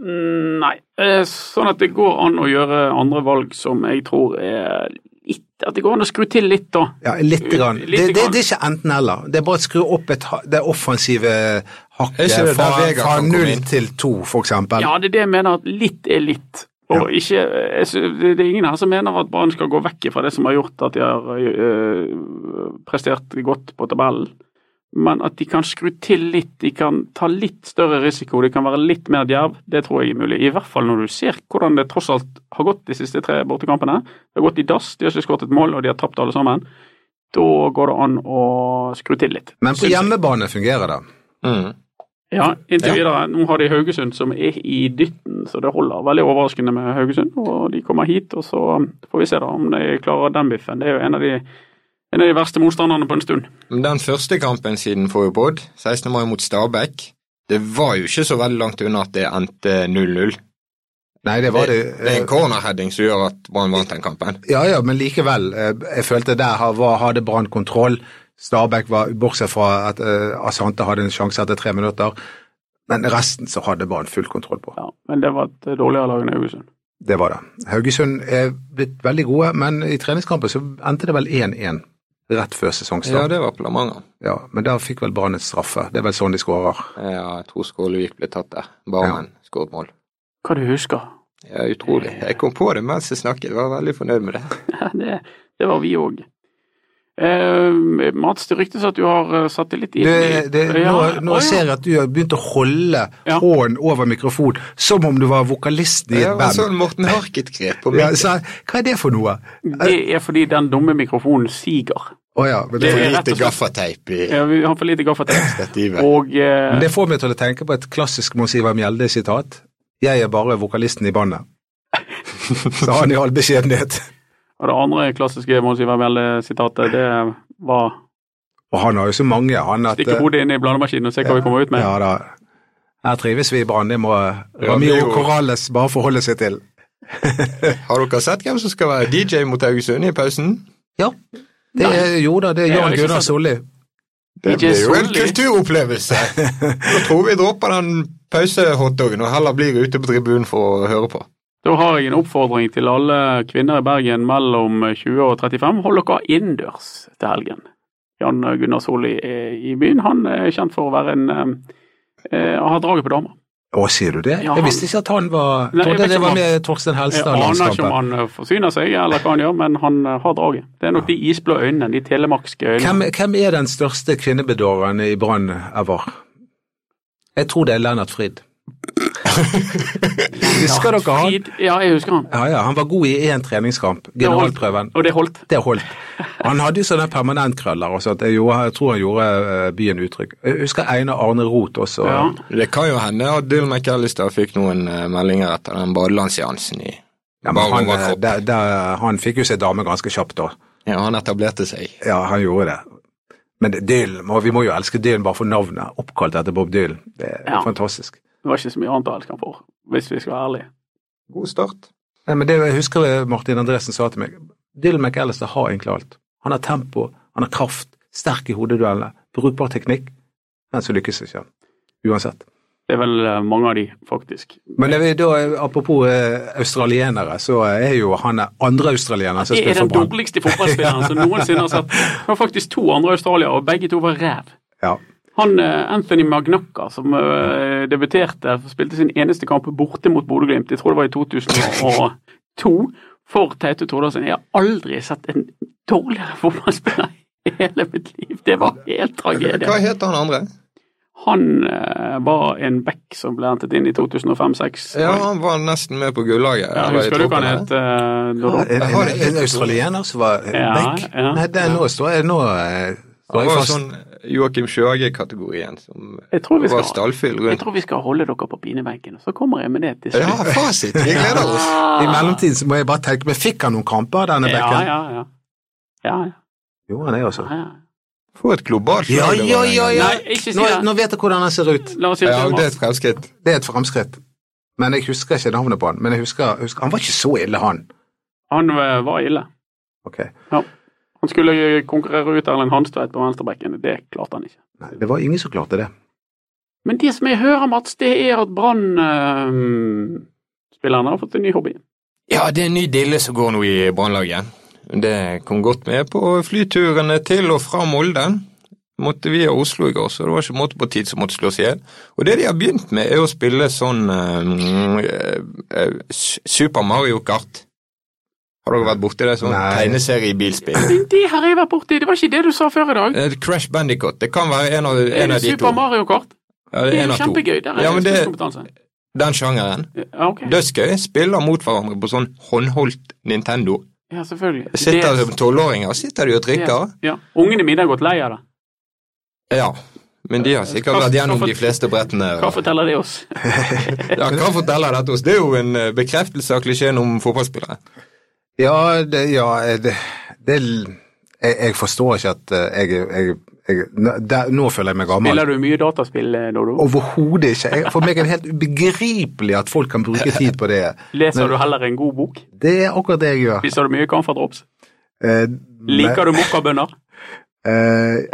[SPEAKER 3] Mm, Nei. Eh, Sånn at det går an å gjøre andre valg som jeg tror er litt At det går an å skru til litt, da.
[SPEAKER 4] Ja, lite grann.
[SPEAKER 3] Lite
[SPEAKER 4] det, det,
[SPEAKER 3] grann.
[SPEAKER 4] det er ikke enten-eller. Det er bare å skru opp et, ha- det offensive
[SPEAKER 5] Er
[SPEAKER 4] hakket
[SPEAKER 5] ikke det
[SPEAKER 4] fra,
[SPEAKER 5] der Vegard
[SPEAKER 4] fra
[SPEAKER 5] kan komme
[SPEAKER 4] null
[SPEAKER 5] inn?
[SPEAKER 4] til to, for eksempel.
[SPEAKER 3] Ja, det er det jeg mener, at litt er litt. Og ikke, jeg sy- det det er ingen her som mener at Brann skal gå vekk fra det som har gjort at de har øh, prestert godt på tabellen, men at de kan skru til litt. De kan ta litt større risiko, de kan være litt mer djerv. Det tror jeg er mulig. I hvert fall når du ser hvordan det tross alt har gått de siste tre bortekampene. Det har gått i dass, de har ikke skåret et mål, og de har tapt alle sammen. Da går det an å skru til litt.
[SPEAKER 4] Men på
[SPEAKER 3] Synes jeg.
[SPEAKER 4] hjemmebane fungerer det.
[SPEAKER 5] Mm.
[SPEAKER 3] Ja, inntil
[SPEAKER 5] Ja.
[SPEAKER 3] videre. Nå har de Haugesund som er i dytten, så det holder. Veldig overraskende med Haugesund. Og de kommer hit, og så får vi se da om de klarer den biffen. Det er jo en av de, en av de verste motstanderne på en stund.
[SPEAKER 5] Men Den første kampen siden forrige pod, 16. mai mot Stabæk, det var jo ikke så veldig langt unna at det endte 0-0.
[SPEAKER 4] Nei, det var det. eh,
[SPEAKER 5] Det er en cornerheading som gjør at Brann vant den kampen.
[SPEAKER 4] Ja, ja, men likevel. eh, Jeg følte der ha- var, hadde Brann kontroll. Stabæk var, bortsett fra at eh, Asante hadde en sjanse etter tre minutter. Men resten så hadde Brann full kontroll på.
[SPEAKER 3] Ja, men det var et dårligere lag enn Haugesund.
[SPEAKER 4] Det var det. Haugesund er blitt veldig gode, men i treningskampen så endte det vel 1-1 rett før
[SPEAKER 5] Ja,
[SPEAKER 4] sesongstart.
[SPEAKER 5] det var på La Manga.
[SPEAKER 4] Ja, men der fikk vel Brann et straffe. Det er vel sånn de skårer.
[SPEAKER 5] Ja, jeg tror Skålevik ble tatt der. Barmen skåret mål.
[SPEAKER 3] Hva du husker? <laughs>
[SPEAKER 5] Ja, utrolig. Jeg kom på det mens jeg snakket, jeg var veldig fornøyd med det.
[SPEAKER 3] Det, det var vi òg. Eh, Mats, det ryktes at du har eh, satellitt inn i-
[SPEAKER 4] Det, det,
[SPEAKER 3] Ja,
[SPEAKER 4] nå, nå
[SPEAKER 3] å, ja.
[SPEAKER 4] ser jeg at du har begynt å holde
[SPEAKER 3] Ja.
[SPEAKER 4] hånden over mikrofonen, som om du var vokalisten i
[SPEAKER 5] Det
[SPEAKER 4] et
[SPEAKER 5] var sånn
[SPEAKER 4] band.
[SPEAKER 5] Morten Harket-grep på
[SPEAKER 4] Ja,
[SPEAKER 5] meg.
[SPEAKER 4] så, hva er det for noe?
[SPEAKER 3] Det er fordi den dumme mikrofonen siger.
[SPEAKER 4] Å ja, men det,
[SPEAKER 5] For
[SPEAKER 3] er rett og
[SPEAKER 5] lite
[SPEAKER 3] slett-
[SPEAKER 5] gaffateip i
[SPEAKER 3] Ja, vi har for lite gaffateip.
[SPEAKER 5] stativet.
[SPEAKER 3] Og eh,
[SPEAKER 4] det får meg til å tenke på et klassisk Mons Ivar Mjelde-sitat. Jeg er bare vokalisten
[SPEAKER 3] <laughs>
[SPEAKER 4] i bandet. Sa han i all beskjedenhet.
[SPEAKER 3] og det andre klassiske Mons Ivar Mjelde-sitatet, eh, det var
[SPEAKER 4] Og han har jo så mange, han at eh,
[SPEAKER 3] stikke hodet inn i blandemaskinen og se hva vi kommer ut med.
[SPEAKER 4] Ja da. Her trives vi i Brann, det må Ramiro
[SPEAKER 5] Ramiro.
[SPEAKER 4] Corrales bare forholde seg til.
[SPEAKER 5] Har dere sett hvem som skal være DJ mot Haugesund i pausen?
[SPEAKER 4] Ja. Det er, jo da, det er
[SPEAKER 3] Jeg har
[SPEAKER 4] Jan
[SPEAKER 3] ikke
[SPEAKER 4] Gunnar
[SPEAKER 3] sett-
[SPEAKER 4] Solli.
[SPEAKER 5] Det
[SPEAKER 3] DJ
[SPEAKER 5] blir jo en
[SPEAKER 3] Solli.
[SPEAKER 5] kulturopplevelse. Jeg tror vi dropper den pausehotdogen og heller blir ute på tribunen for å høre på.
[SPEAKER 3] Da har jeg en oppfordring til alle kvinner i Bergen mellom 20 og 35. Hold dere innendørs til helgen. Jan Gunnar Solli er i byen. Han er kjent for å være en eh, eh, har draget på damer.
[SPEAKER 4] Å, sier du det?
[SPEAKER 3] Ja,
[SPEAKER 4] jeg
[SPEAKER 3] han-
[SPEAKER 4] visste ikke at han var
[SPEAKER 3] Nei, jeg
[SPEAKER 4] Trodde
[SPEAKER 3] vet
[SPEAKER 4] det
[SPEAKER 3] ikke
[SPEAKER 4] var
[SPEAKER 3] om han-
[SPEAKER 4] med Torstein
[SPEAKER 3] Jeg
[SPEAKER 4] Helstad
[SPEAKER 3] aner ikke om
[SPEAKER 4] landskampen.
[SPEAKER 3] han eh, forsyner seg eller hva han gjør, men han eh, har draget. Det er nok de isblå øynene, de telemarkske øynene.
[SPEAKER 4] Hvem, hvem er den største kvinnebedåren i Brann ever? Jeg tror det er Lennart
[SPEAKER 3] <laughs>
[SPEAKER 4] Frid. Husker dere han?
[SPEAKER 3] Frid- Ja, jeg husker han.
[SPEAKER 4] Ja, ja, han var god i én treningskamp, generalprøven.
[SPEAKER 3] Og det holdt.
[SPEAKER 4] Det holdt. Han hadde jo sånne permanentkrøller. og sånt. Jeg, gjorde, jeg tror han gjorde eh, byen utrygg. Jeg husker Einar Arne Roth også.
[SPEAKER 3] Ja.
[SPEAKER 5] Det kan jo hende at Dylan McAllister fikk noen eh, meldinger etter den badelandsseansen i
[SPEAKER 4] Ja, men
[SPEAKER 5] Bare
[SPEAKER 4] han, eh,
[SPEAKER 5] overkropp.
[SPEAKER 4] der, der, han fikk jo seg dame ganske kjapt da.
[SPEAKER 5] Ja, han etablerte seg.
[SPEAKER 4] Ja, han gjorde det. Men Dylan, må- vi må jo elske Dylan bare for navnet. Oppkalt etter Bob Dylan. Det er
[SPEAKER 3] Ja.
[SPEAKER 4] fantastisk.
[SPEAKER 3] Det var ikke så mye annet å elske han for, hvis vi skal være ærlige.
[SPEAKER 5] God start.
[SPEAKER 4] Nei, men det jeg husker jeg Martin Andresen sa til meg. Dylan McAllister har egentlig alt. Han har tempo, han har kraft, sterk i hodeduellene, brukbar teknikk. Men så lykkes ikke han. Uansett.
[SPEAKER 3] Det er vel eh, mange av de, faktisk.
[SPEAKER 4] Men det, vi da, apropos eh, australienere, så er jo han er andre australiener som
[SPEAKER 3] Det er
[SPEAKER 4] spiller
[SPEAKER 3] den
[SPEAKER 4] for Brann.
[SPEAKER 3] dårligste fotballspilleren som noensinne har sett. Det var faktisk to andre australiere, og begge to var ræv.
[SPEAKER 4] Ja.
[SPEAKER 3] Han eh, Anthony Magnocca, som eh, debuterte, spilte sin eneste kamp borte mot Bodø-Glimt, jeg tror det var i 2002, for Teite Tordarsen. Jeg har aldri sett en dårligere fotballspiller i hele mitt liv. Det var helt
[SPEAKER 5] Hva
[SPEAKER 3] tragedie.
[SPEAKER 5] het han andre?
[SPEAKER 3] Han eh, var en back som ble hentet inn i 2005-2006.
[SPEAKER 5] Ja, han var nesten med på gullaget.
[SPEAKER 3] Ja,
[SPEAKER 5] eller i
[SPEAKER 3] husker du hva han
[SPEAKER 5] troppen,
[SPEAKER 3] het? eh, da-
[SPEAKER 4] En,
[SPEAKER 5] Jeg har
[SPEAKER 4] en,
[SPEAKER 5] det helt-
[SPEAKER 4] en australiener som var eh,
[SPEAKER 3] Ja,
[SPEAKER 4] back?
[SPEAKER 3] ja.
[SPEAKER 4] Nei, det, er nå står jeg, nå, eh, står
[SPEAKER 5] Han
[SPEAKER 4] jeg
[SPEAKER 5] var
[SPEAKER 4] fast.
[SPEAKER 5] sånn Joakim Sjøge-kategorien, som
[SPEAKER 3] Jeg tror vi
[SPEAKER 5] var
[SPEAKER 3] skal-
[SPEAKER 5] stallfyll
[SPEAKER 3] Jeg
[SPEAKER 5] rundt.
[SPEAKER 3] tror vi skal holde dere på pinebenken, og så kommer jeg med det til
[SPEAKER 5] Ja,
[SPEAKER 3] slutt.
[SPEAKER 5] fasit! Vi gleder oss.
[SPEAKER 4] I mellomtiden så må jeg bare tenke meg, fikk han noen kamper, denne
[SPEAKER 3] Ah. Ja, ja,
[SPEAKER 4] backen?
[SPEAKER 3] ja. ja, ja,
[SPEAKER 4] Jo, han er jo sånn.
[SPEAKER 3] ja, ja.
[SPEAKER 5] Få et globalt
[SPEAKER 4] Ja,
[SPEAKER 5] lag
[SPEAKER 4] ja,
[SPEAKER 5] over den
[SPEAKER 4] ja, ja.
[SPEAKER 3] Nei, ikke si
[SPEAKER 4] Nå,
[SPEAKER 3] det.
[SPEAKER 4] nå vet jeg hvordan han ser ut.
[SPEAKER 3] La oss gjøre
[SPEAKER 5] gangen.
[SPEAKER 3] det,
[SPEAKER 5] Ja,
[SPEAKER 3] sånn.
[SPEAKER 5] det er et
[SPEAKER 3] Mats.
[SPEAKER 5] fremskritt.
[SPEAKER 4] Det er et fremskritt. Men jeg husker ikke navnet på han. Men jeg husker, jeg husker han var ikke så ille, han.
[SPEAKER 3] Han eh, var ille.
[SPEAKER 4] Ok.
[SPEAKER 3] Han skulle eh, konkurrere ut Erlend Hanstveit på venstrebekken. Det klarte han ikke.
[SPEAKER 4] Nei, det var ingen som klarte det.
[SPEAKER 3] Men det som jeg hører, Mats, det er at Brann-spillerne har fått en ny hobby.
[SPEAKER 5] Ja, det er en ny dille som går nå i Brannlaget. Det kom godt med på flyturene til og fra Molde. Måtte via Oslo i går, så det var ikke måte på tid som måtte slås i hjel. Og det de har begynt med, er å spille sånn eh, eh, eh, Super Mario Kart. Har dere vært borti det? Sånn
[SPEAKER 4] Nei.
[SPEAKER 5] tegneserie i bilspill.
[SPEAKER 3] Men det her har jeg vært borti! Det var ikke det du sa før i dag.
[SPEAKER 5] Eh, Crash Bandicoot. Det kan være en av, en
[SPEAKER 3] er
[SPEAKER 5] av
[SPEAKER 3] det
[SPEAKER 5] de to.
[SPEAKER 3] Super Mario-kort? Det
[SPEAKER 5] Ja, det er
[SPEAKER 3] er
[SPEAKER 5] en
[SPEAKER 3] jo
[SPEAKER 5] av to.
[SPEAKER 3] kjempegøy. Der er
[SPEAKER 5] Ja,
[SPEAKER 3] ja,
[SPEAKER 5] men det-
[SPEAKER 3] spisskompetanse.
[SPEAKER 5] Den sjangeren.
[SPEAKER 3] Ja, ok.
[SPEAKER 5] Dødsgøy. Spiller mot hverandre på sånn håndholdt Nintendo.
[SPEAKER 3] Ja, selvfølgelig.
[SPEAKER 5] Sitter
[SPEAKER 3] Det-
[SPEAKER 5] som tolvåringer sitter de og drikker.
[SPEAKER 3] Ja. Ungene mine har gått lei av det.
[SPEAKER 5] Ja, men de har sikkert
[SPEAKER 3] Hva-
[SPEAKER 5] vært gjennom
[SPEAKER 3] hva-
[SPEAKER 5] de fleste brettene.
[SPEAKER 3] Hva forteller det oss?
[SPEAKER 5] Ja, hva forteller dette oss? Det er jo en eh, bekreftelse av klisjeen om fotballspillere.
[SPEAKER 4] Ja, det, ja, det, det jeg, jeg forstår ikke at eh, jeg, jeg, jeg nå- der, Nå føler jeg meg gammel.
[SPEAKER 3] Spiller du mye dataspill, eh, Dodo?
[SPEAKER 4] Overhodet ikke. Jeg, for meg er det helt ubegripelig at folk kan
[SPEAKER 3] <laughs>
[SPEAKER 4] bruke tid på det.
[SPEAKER 3] Leser du heller en god bok?
[SPEAKER 4] Det er akkurat det jeg gjør.
[SPEAKER 3] Spiser du mye Camphor Drops?
[SPEAKER 4] Eh,
[SPEAKER 3] Liker du mokkabønner?
[SPEAKER 4] eh,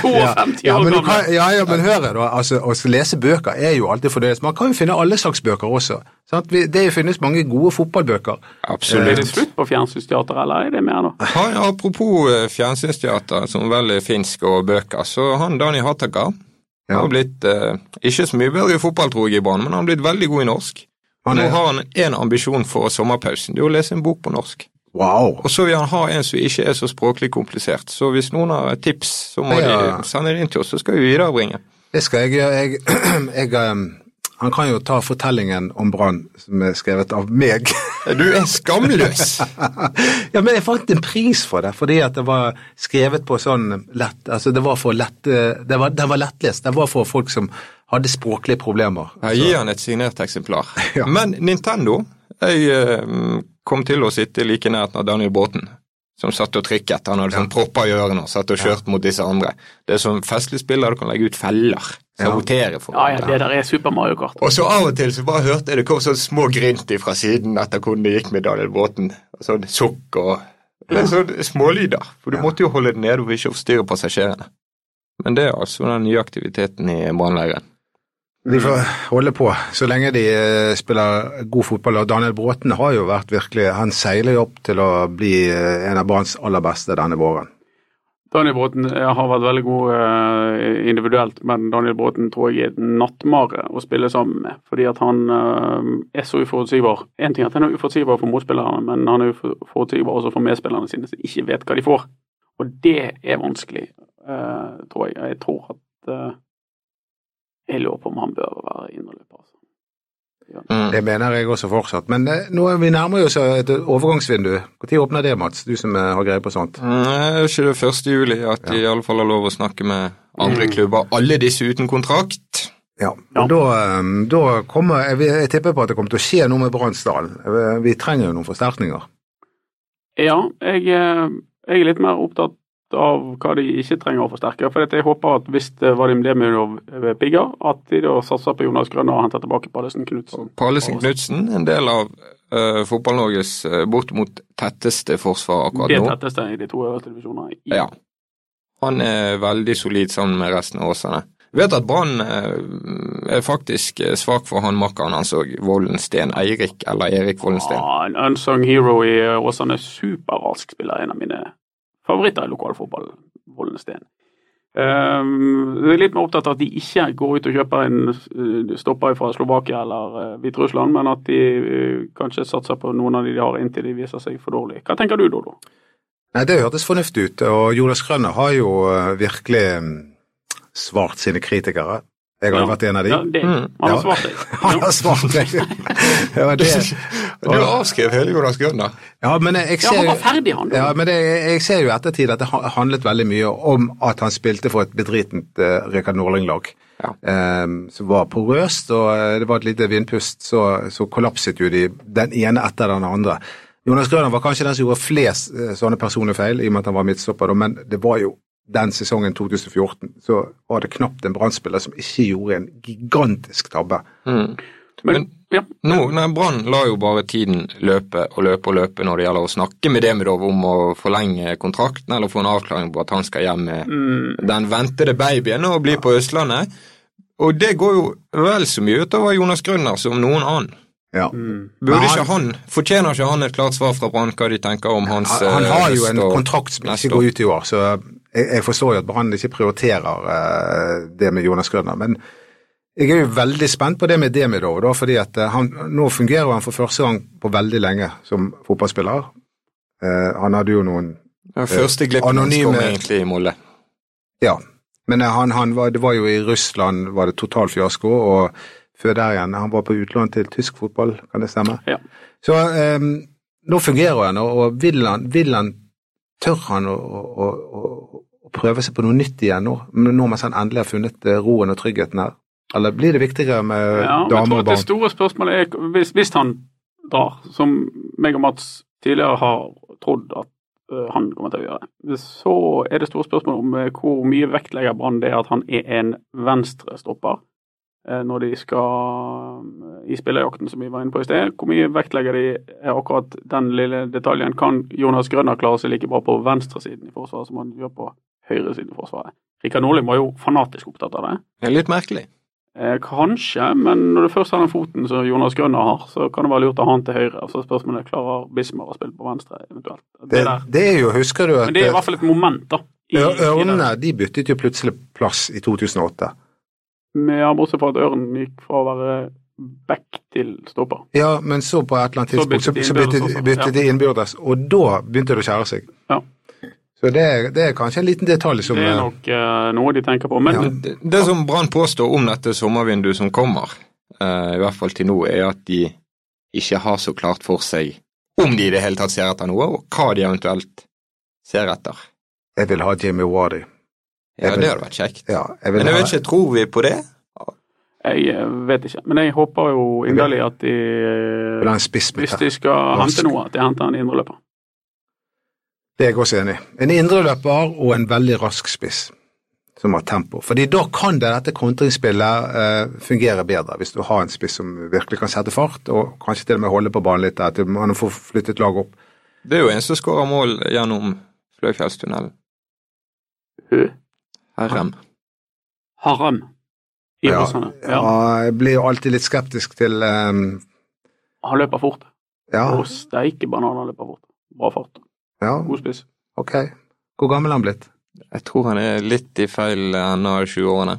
[SPEAKER 3] 52
[SPEAKER 4] ja,
[SPEAKER 3] år
[SPEAKER 4] men du
[SPEAKER 3] gammel.
[SPEAKER 4] kan, ja, ja, men hør her, da. Altså, å lese bøker er jo alltid fornøyelig. Man kan jo finne alle slags bøker også. Sant? Vi- Det finnes mange gode fotballbøker.
[SPEAKER 3] Blir det slutt på fjernsynsteater, eller er det mer nå?
[SPEAKER 5] Han, Eh, apropos eh, fjernsynsteater, som vel er finsk og bøker, så han Dani Hataka
[SPEAKER 4] Ja.
[SPEAKER 5] har blitt eh, ikke så mye bedre i fotball, tror jeg, i Brann, men han har blitt veldig god i norsk.
[SPEAKER 4] Han
[SPEAKER 5] Nå
[SPEAKER 4] er,
[SPEAKER 5] har han én ambisjon for sommerpausen, det er å lese en bok på norsk.
[SPEAKER 4] Wow!
[SPEAKER 5] Og så vil han ha en som ikke er så språklig komplisert. Så hvis noen har et tips, så må
[SPEAKER 4] Ja.
[SPEAKER 5] de sende det inn til oss, så skal vi viderebringe.
[SPEAKER 4] Det skal jeg <clears throat> gjøre. Jeg, jeg, um, han kan jo ta fortellingen om Brann, som er skrevet av meg. <laughs>
[SPEAKER 5] Du er skamløs! <laughs>
[SPEAKER 4] ja, men jeg fant en pris for det, fordi at det var skrevet på sånn lett Altså, det var for lett eh, det var, Den var lettlest. Den var for folk som hadde språklige problemer.
[SPEAKER 5] Jeg gir han et signert eksemplar.
[SPEAKER 4] Ja.
[SPEAKER 5] Men Nintendo Jeg eh, kom til å sitte like nært når Daniel Bråten, som satt og trikket. Han hadde sånn propper i ørene og satt og kjørt mot disse andre. Det er som festlig spill der du kan legge ut feller. Sabotere for
[SPEAKER 3] Ja, ja,
[SPEAKER 5] andre.
[SPEAKER 3] det der er Super Mario Kart.
[SPEAKER 5] Og så av og til så bare hørte jeg det kom sånn små grint fra siden etter hvordan det gikk med Daniel Bråten. Og Sånn sukk og eller sånn smålyder. For du
[SPEAKER 4] Ja.
[SPEAKER 5] måtte jo holde det nede for ikke å forstyrre passasjerene. Men det er altså den nye aktiviteten i brannleiren.
[SPEAKER 4] Vi får holde på så lenge de eh, spiller god fotball. Og Daniel Bråten har jo vært virkelig Han seiler jo opp til å bli eh, en av Branns aller beste denne våren.
[SPEAKER 3] Daniel Bråten eh, har vært veldig god eh, individuelt, men Daniel Bråten tror jeg er et nattmare å spille sammen med. Fordi at han eh, er så uforutsigbar. Én ting er at han er uforutsigbar for motspillerne, men han er uforutsigbar også for medspillerne sine, som ikke vet hva de får. Og det er vanskelig, eh, tror jeg. Jeg tror at eh, Jeg lurer på om han bør være indreløper. Altså.
[SPEAKER 5] Mm.
[SPEAKER 4] Det mener jeg også fortsatt. Men eh, nå er vi nærmer oss eh, et overgangsvindu. Når åpner det, Mats? Du som eh, har greie på sånt.
[SPEAKER 5] Nei, det Mm, er ikke det 1. juli at de i alle fall har lov å snakke med andre
[SPEAKER 3] Mm.
[SPEAKER 5] klubber. Alle disse uten kontrakt.
[SPEAKER 4] Ja.
[SPEAKER 3] Ja.
[SPEAKER 4] Og da, eh, da kommer jeg, vil- jeg tipper på at det kommer til å skje noe med Brannsdalen. Eh, Vi trenger jo noen forsterkninger.
[SPEAKER 3] Ja, jeg, eh, jeg er litt mer opptatt av hva de ikke trenger å forsterke. For at jeg håper at hvis det Vadim Demirov eh, pigger, at de da satser på Jonas Grønner og henter tilbake Pallesen Knutsen.
[SPEAKER 5] Pallesen Knutsen, en del av eh, Fotball-Norges eh, bortimot tetteste forsvar akkurat
[SPEAKER 3] Det
[SPEAKER 5] nå.
[SPEAKER 3] tetteste i de to øverste divisjonene. i-
[SPEAKER 5] Ja. Han er veldig solid sammen med resten av Åsane. Jeg vet at Brann eh, er faktisk eh, svak for han makkeren hans òg, Vollensten Eirik, eller Erik Vollensten.
[SPEAKER 3] Ja, en unsung hero i eh, Åsane. Superrask spiller, en av mine favoritter i lokalfotball. Vollensten. Um, jeg er litt mer opptatt av at de ikke går ut og kjøper en eh, stopper fra Slovakia eller eh, Hviterussland, men at de eh, kanskje satser på noen av de de har, inntil de viser seg for dårlige. Hva tenker du, Dodo?
[SPEAKER 4] Nei, Det hørtes fornuftig ut, og Jonas Grønner har jo eh, virkelig mm, svart sine kritikere. Jeg har jo
[SPEAKER 3] Ja.
[SPEAKER 4] vært en av de.
[SPEAKER 3] Ja, det,
[SPEAKER 5] Mm.
[SPEAKER 3] han har
[SPEAKER 4] Ja.
[SPEAKER 3] svart deg.
[SPEAKER 4] <laughs> Han har svart <laughs> meg! Ja, men det-
[SPEAKER 5] Du avskrev hele Jonas Grønner.
[SPEAKER 4] Ja, men jeg
[SPEAKER 3] Ja,
[SPEAKER 4] ser
[SPEAKER 3] han var ferdig, han.
[SPEAKER 4] Ja, men det, jeg ser jo i ettertid at det ha- handlet veldig mye om at han spilte for et bedritent uh, Rikard Norling-lag.
[SPEAKER 5] Ja.
[SPEAKER 4] eh, som var porøst, og eh, det var et lite vindpust, så, så kollapset jo de den ene etter den andre. Jonas Grønner var kanskje den som gjorde flest eh, sånne personlige feil, i og med at han var midtstopper, da, men det var jo den sesongen 2014 så var det knapt en brannspiller som ikke gjorde en gigantisk tabbe.
[SPEAKER 5] Mm.
[SPEAKER 3] Men, ja.
[SPEAKER 5] Nå, nei, Brann lar jo bare tiden løpe og løpe og løpe når det gjelder å snakke med Demidov om å forlenge kontrakten eller få en avklaring på at han skal hjem med
[SPEAKER 3] Mm,
[SPEAKER 5] den ventede babyen og bli på Østlandet. Og det går jo vel så mye utover Jonas Grønner som noen annen.
[SPEAKER 4] Ja.
[SPEAKER 3] mm.
[SPEAKER 5] Burde
[SPEAKER 4] Men han-
[SPEAKER 5] ikke han, Fortjener ikke han et klart svar fra Brann hva de tenker om hans
[SPEAKER 4] Han, han
[SPEAKER 5] eh,
[SPEAKER 4] har jo en
[SPEAKER 5] neste år?
[SPEAKER 4] kontrakt som
[SPEAKER 5] neste
[SPEAKER 4] ikke går ut i år, så jeg, jeg forstår jo at Brann ikke prioriterer eh, det med Jonas Grønner. Men jeg er jo veldig spent på det med Demidov, da, fordi at eh, han, nå fungerer han for første gang på veldig lenge som fotballspiller. Eh, han hadde jo noen
[SPEAKER 5] Den første glippen hans
[SPEAKER 4] Anonyme-
[SPEAKER 5] kom egentlig i Molde.
[SPEAKER 4] Ja, men eh, han, han var, det var jo i Russland var det total fiasko, og før der igjen, han var på utlån til tysk fotball, kan det stemme?
[SPEAKER 3] Ja.
[SPEAKER 4] Så eh, nå fungerer han, og- og vil han, vil han tør han å, å, å, å prøve seg på noe nytt igjen nå, nå mens han endelig har funnet eh, roen og tryggheten her? Eller blir det viktigere med
[SPEAKER 3] ja men jeg tror
[SPEAKER 4] damer Eh, og
[SPEAKER 3] at det
[SPEAKER 4] barn?
[SPEAKER 3] store spørsmålet er hvis, hvis han drar, som meg og Mats tidligere har trodd at eh, han kommer til å gjøre, så er det store spørsmålet om eh, hvor mye vektlegger Brann det at han er en venstrestopper eh, når de skal eh, i spillerjakten, som vi var inne på i sted. Hvor mye vektlegger de eh, akkurat den lille detaljen? Kan Jonas Grønner klare seg like bra på venstresiden i forsvaret som han gjør på høyresiden i forsvaret? Rikard Nordli var jo fanatisk opptatt av det.
[SPEAKER 5] Det er litt merkelig.
[SPEAKER 3] Eh, kanskje, men når du først har den foten som Jonas Grønner har, så kan det være lurt å ha han til høyre. Så spørsmålet er klarer Bismar å spille på venstre, eventuelt. Det,
[SPEAKER 4] Det,
[SPEAKER 3] der.
[SPEAKER 4] det er jo, husker du at
[SPEAKER 3] Men det er i
[SPEAKER 4] eh,
[SPEAKER 3] hvert fall et moment, da. i-
[SPEAKER 4] Ø-
[SPEAKER 3] i
[SPEAKER 4] Ørnene
[SPEAKER 3] det.
[SPEAKER 4] de byttet jo plutselig plass i 2008.
[SPEAKER 3] Men ja, bortsett fra at Ørnen gikk fra å være back til stopper.
[SPEAKER 4] Ja, men så på et eller annet
[SPEAKER 3] Så
[SPEAKER 4] tidspunkt så,
[SPEAKER 3] byttet de
[SPEAKER 4] så byttet,
[SPEAKER 3] innbyrdes også,
[SPEAKER 4] byttet de innbyrdes, og da begynte det å skjære seg.
[SPEAKER 3] Ja.
[SPEAKER 4] Så det er, det er kanskje en liten detalj som
[SPEAKER 3] Det er
[SPEAKER 4] eh,
[SPEAKER 3] nok eh, noe de tenker på. Men
[SPEAKER 5] Det, det som Brann påstår om dette sommervinduet som kommer, eh, i hvert fall til nå, er at de ikke har så klart for seg om de i det hele tatt ser etter noe, og hva de eventuelt ser etter.
[SPEAKER 4] Jeg vil ha Jimmy Wardy.
[SPEAKER 5] Ja,
[SPEAKER 4] Jeg
[SPEAKER 5] det
[SPEAKER 4] vil-
[SPEAKER 5] hadde vært kjekt.
[SPEAKER 4] Ja, jeg vil
[SPEAKER 5] Men jeg
[SPEAKER 4] ha
[SPEAKER 5] vet ikke, tror vi på det?
[SPEAKER 3] jeg eh, vet ikke. Men jeg håper jo inderlig at de eh,
[SPEAKER 4] jeg vil ha en spiss med
[SPEAKER 3] Hvis
[SPEAKER 4] tett.
[SPEAKER 3] de skal
[SPEAKER 4] Rask.
[SPEAKER 3] hente noe, at de henter en indreløper.
[SPEAKER 4] Det er jeg også enig i. En indreløper og en veldig rask spiss som har tempo. Fordi da kan det, dette kontringsspillet eh, fungere bedre, hvis du har en spiss som virkelig kan sette fart, og kanskje til og med holde på banen litt, at man får flyttet laget opp.
[SPEAKER 5] Det er jo en som skårer mål gjennom Fløyfjellstunnelen.
[SPEAKER 3] Hø.
[SPEAKER 5] Herrem.
[SPEAKER 3] Haram. I
[SPEAKER 4] Ja,
[SPEAKER 3] Åsane.
[SPEAKER 4] ja,
[SPEAKER 3] Ja.
[SPEAKER 4] jeg blir jo alltid litt skeptisk til eh,
[SPEAKER 3] Han løper fort.
[SPEAKER 4] ja,
[SPEAKER 3] Og steike banan, han løper fort. Bra fart.
[SPEAKER 4] ja,
[SPEAKER 3] God spiss.
[SPEAKER 4] ok. Hvor gammel er han blitt?
[SPEAKER 5] Jeg tror han er litt i feil ende av 20-årene.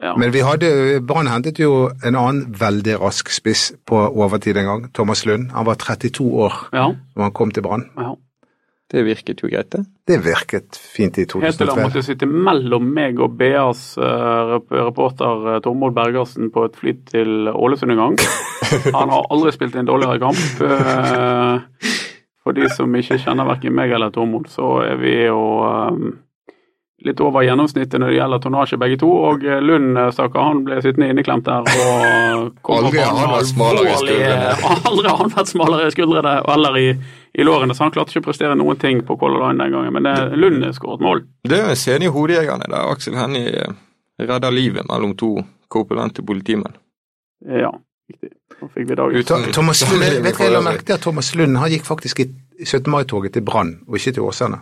[SPEAKER 3] Ja.
[SPEAKER 4] Men vi hadde, Brann hentet jo en annen veldig rask spiss på overtid en gang, Thomas Lund. Han var 32 år
[SPEAKER 3] ja.
[SPEAKER 4] når han kom til Brann.
[SPEAKER 3] ja.
[SPEAKER 5] Det virket jo greit, det.
[SPEAKER 4] Det virket fint i
[SPEAKER 3] Helt til han
[SPEAKER 4] 2003.
[SPEAKER 3] måtte sitte mellom meg og BAs eh, rep- reporter eh, Tormod Bergersen på et fly til Ålesund en
[SPEAKER 5] <laughs>
[SPEAKER 3] gang. Han har aldri spilt en dårligere kamp. Eh, For de som ikke kjenner verken meg eller Tormod, så er vi jo eh, litt over gjennomsnittet når det gjelder tonnasje begge to. Og eh, Lund, eh, stakkar, han ble sittende inneklemt der
[SPEAKER 5] <laughs>
[SPEAKER 3] og kom
[SPEAKER 5] Aldri
[SPEAKER 3] opp
[SPEAKER 5] har han
[SPEAKER 3] med
[SPEAKER 5] vært smalere i
[SPEAKER 3] alvorlige- <laughs> Aldri har han vært smalere i skuldrene eller i, i lårene, så han klarte ikke å prestere noen ting på Color Line den gangen. Men eh, Lund skåret mål.
[SPEAKER 5] Det er jo en scene i Hodejegerne der Aksel Hennie eh, redder livet mellom to korpulente politimenn.
[SPEAKER 3] Ja, riktig. Nå fikk vi dagen.
[SPEAKER 5] Uten-
[SPEAKER 4] Thomas Lund,
[SPEAKER 5] Sammenligning
[SPEAKER 4] vet du hva jeg la
[SPEAKER 5] for øvrig.
[SPEAKER 4] merke til? at Thomas Lund han gikk faktisk i 17. mai-toget til Brann, og ikke til Åsane.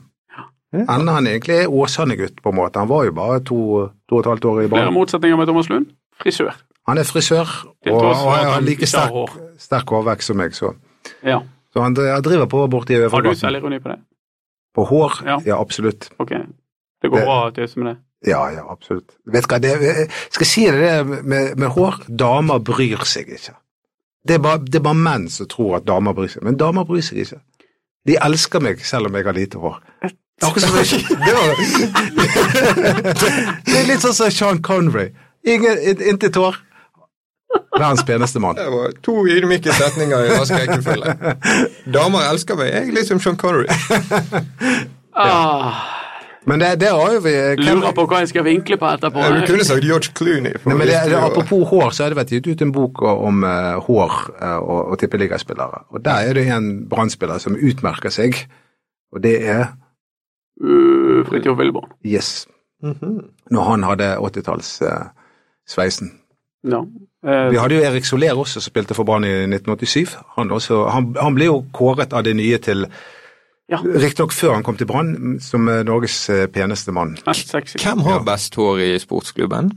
[SPEAKER 4] Enda han egentlig er Åsane-gutt, på en måte. Han var jo bare to, to og et halvt år i
[SPEAKER 3] Flere
[SPEAKER 4] Brann.
[SPEAKER 3] motsetninger med Thomas Lund. Frisør.
[SPEAKER 4] Han er frisør,
[SPEAKER 3] Til
[SPEAKER 4] og,
[SPEAKER 3] tross
[SPEAKER 4] og
[SPEAKER 3] for at
[SPEAKER 4] han
[SPEAKER 3] han
[SPEAKER 4] har like
[SPEAKER 3] ikke har
[SPEAKER 4] sterk,
[SPEAKER 3] hår.
[SPEAKER 4] sterk hårvekst som meg, så.
[SPEAKER 3] Ja.
[SPEAKER 4] Så han eh, han driver på borti
[SPEAKER 3] Har du
[SPEAKER 4] Øvrebakken.
[SPEAKER 3] selvironi på det?
[SPEAKER 4] På hår?
[SPEAKER 3] Ja.
[SPEAKER 4] Ja, absolutt.
[SPEAKER 3] Ok. Det går
[SPEAKER 4] Det-
[SPEAKER 3] bra at du er som det.
[SPEAKER 4] Ja, ja, absolutt. Vet du hva, det, skal jeg si deg det med, med hår? Damer bryr seg ikke. Det er, bare, det er bare menn som tror at damer bryr seg, men damer bryr seg ikke. De elsker meg selv om jeg har lite hår. Det er akkurat som
[SPEAKER 3] <laughs>
[SPEAKER 4] jeg- det var- Det er litt sånn som Sean Connery. Ingen, in- Intet hår. Verdens peneste mann.
[SPEAKER 5] Det var to ydmyke setninger i rask rekkefølge. Damer elsker meg, jeg er liksom Sean Connery.
[SPEAKER 3] Ah,
[SPEAKER 4] Men det, det har jo vi
[SPEAKER 3] lurer på hva jeg skal vinkle på etterpå.
[SPEAKER 5] Du kunne sagt George Clooney. for
[SPEAKER 4] Nei, men det,
[SPEAKER 5] hvis du
[SPEAKER 4] det,
[SPEAKER 5] var-
[SPEAKER 4] apropos hår, så har det vært gitt ut en bok om eh, hår eh, og, og tippeligaspillere. Og der er det en brannspiller som utmerker seg, og det er
[SPEAKER 3] Uh, Fridtjof Wilborn.
[SPEAKER 4] Yes.
[SPEAKER 5] Mhm.
[SPEAKER 4] Når han hadde 80-tallssveisen.
[SPEAKER 3] Ja. Eh,
[SPEAKER 4] Vi hadde jo Erik Soler også, som spilte for Brann i 1987. Han, også, han, han ble jo kåret av det nye til
[SPEAKER 3] Ja.
[SPEAKER 4] Riktignok før han kom til Brann, som eh, Norges eh, peneste mann.
[SPEAKER 3] mest sexy.
[SPEAKER 5] Hvem har best hår i sportsklubben?